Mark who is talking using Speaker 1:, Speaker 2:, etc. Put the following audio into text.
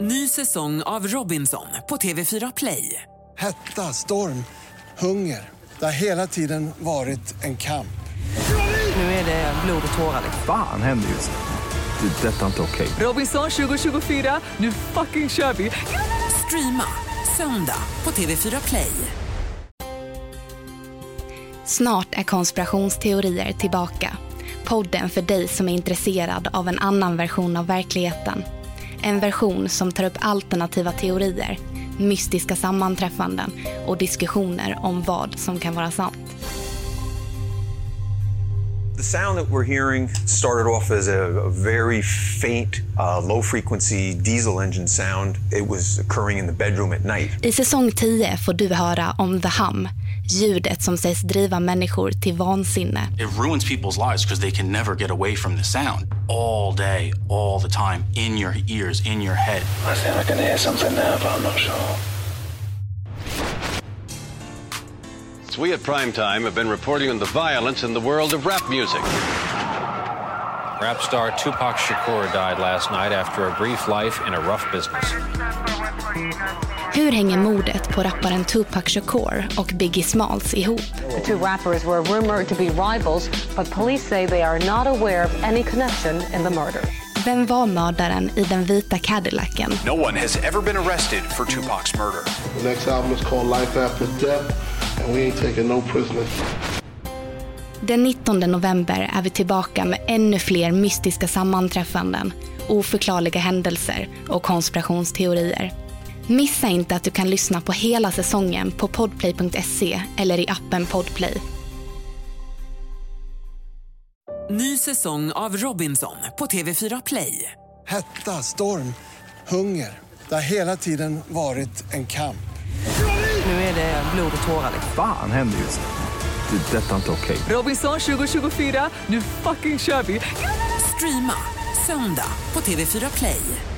Speaker 1: Ny säsong av Robinson på TV4 Play.
Speaker 2: Hetta, storm, hunger. Det har hela tiden varit en kamp.
Speaker 1: Nu är det blod och tårar. liksom.
Speaker 3: Fan händer just nu. Det. är Detta är inte okej.
Speaker 1: Robinson 2024, nu fucking kör vi! Streama söndag på TV4 Play.
Speaker 4: Snart är konspirationsteorier tillbaka. Podden för dig som är intresserad av en annan version av verkligheten. En version som tar upp alternativa teorier, mystiska sammanträffanden och diskussioner om vad som kan vara sant.
Speaker 5: The sound that we're hearing started off as a, a very faint, uh, low frequency diesel engine sound. It was occurring in the bedroom at night.
Speaker 4: I säsong 10 får du höra om The Hum, ljudet som sägs driva människor till vansinne.
Speaker 6: It ruins people's lives because they can never get away from the sound all day, all the time, in your ears, in your head.
Speaker 7: I think I can hear something now, but I'm not sure.
Speaker 8: So we at Primetime have been reporting on the violence in the world of rap music.
Speaker 9: Rap star Tupac Shakur died last night after a brief life in a rough business.
Speaker 4: Hur hänger mordet på rapparen Tupac Shakur och Biggie Smalls ihop?
Speaker 10: The two rappers were rumored to be rivals, but police say they are not aware of any connection in the murder.
Speaker 4: Vem var mördaren i den vita Cadillacen?
Speaker 11: No one has ever been arrested for Tupac's murder.
Speaker 12: The next album is called Life After Death, and we ain't taking no prisoners.
Speaker 4: Den 19 november är vi tillbaka med ännu fler mystiska sammanträffanden, oförklarliga händelser och konspirationsteorier. Missa inte att du kan lyssna på hela säsongen på podplay.se eller i appen Podplay.
Speaker 1: Ny säsong av Robinson på TV4 Play.
Speaker 2: Hetta, storm, hunger. Det har hela tiden varit en kamp.
Speaker 1: Nu är det blod och tårar. liksom.
Speaker 3: Fan händer just nu. Det. är Detta är inte okej.
Speaker 1: Robinson 2024, nu fucking kör vi! Streama söndag på TV4 Play.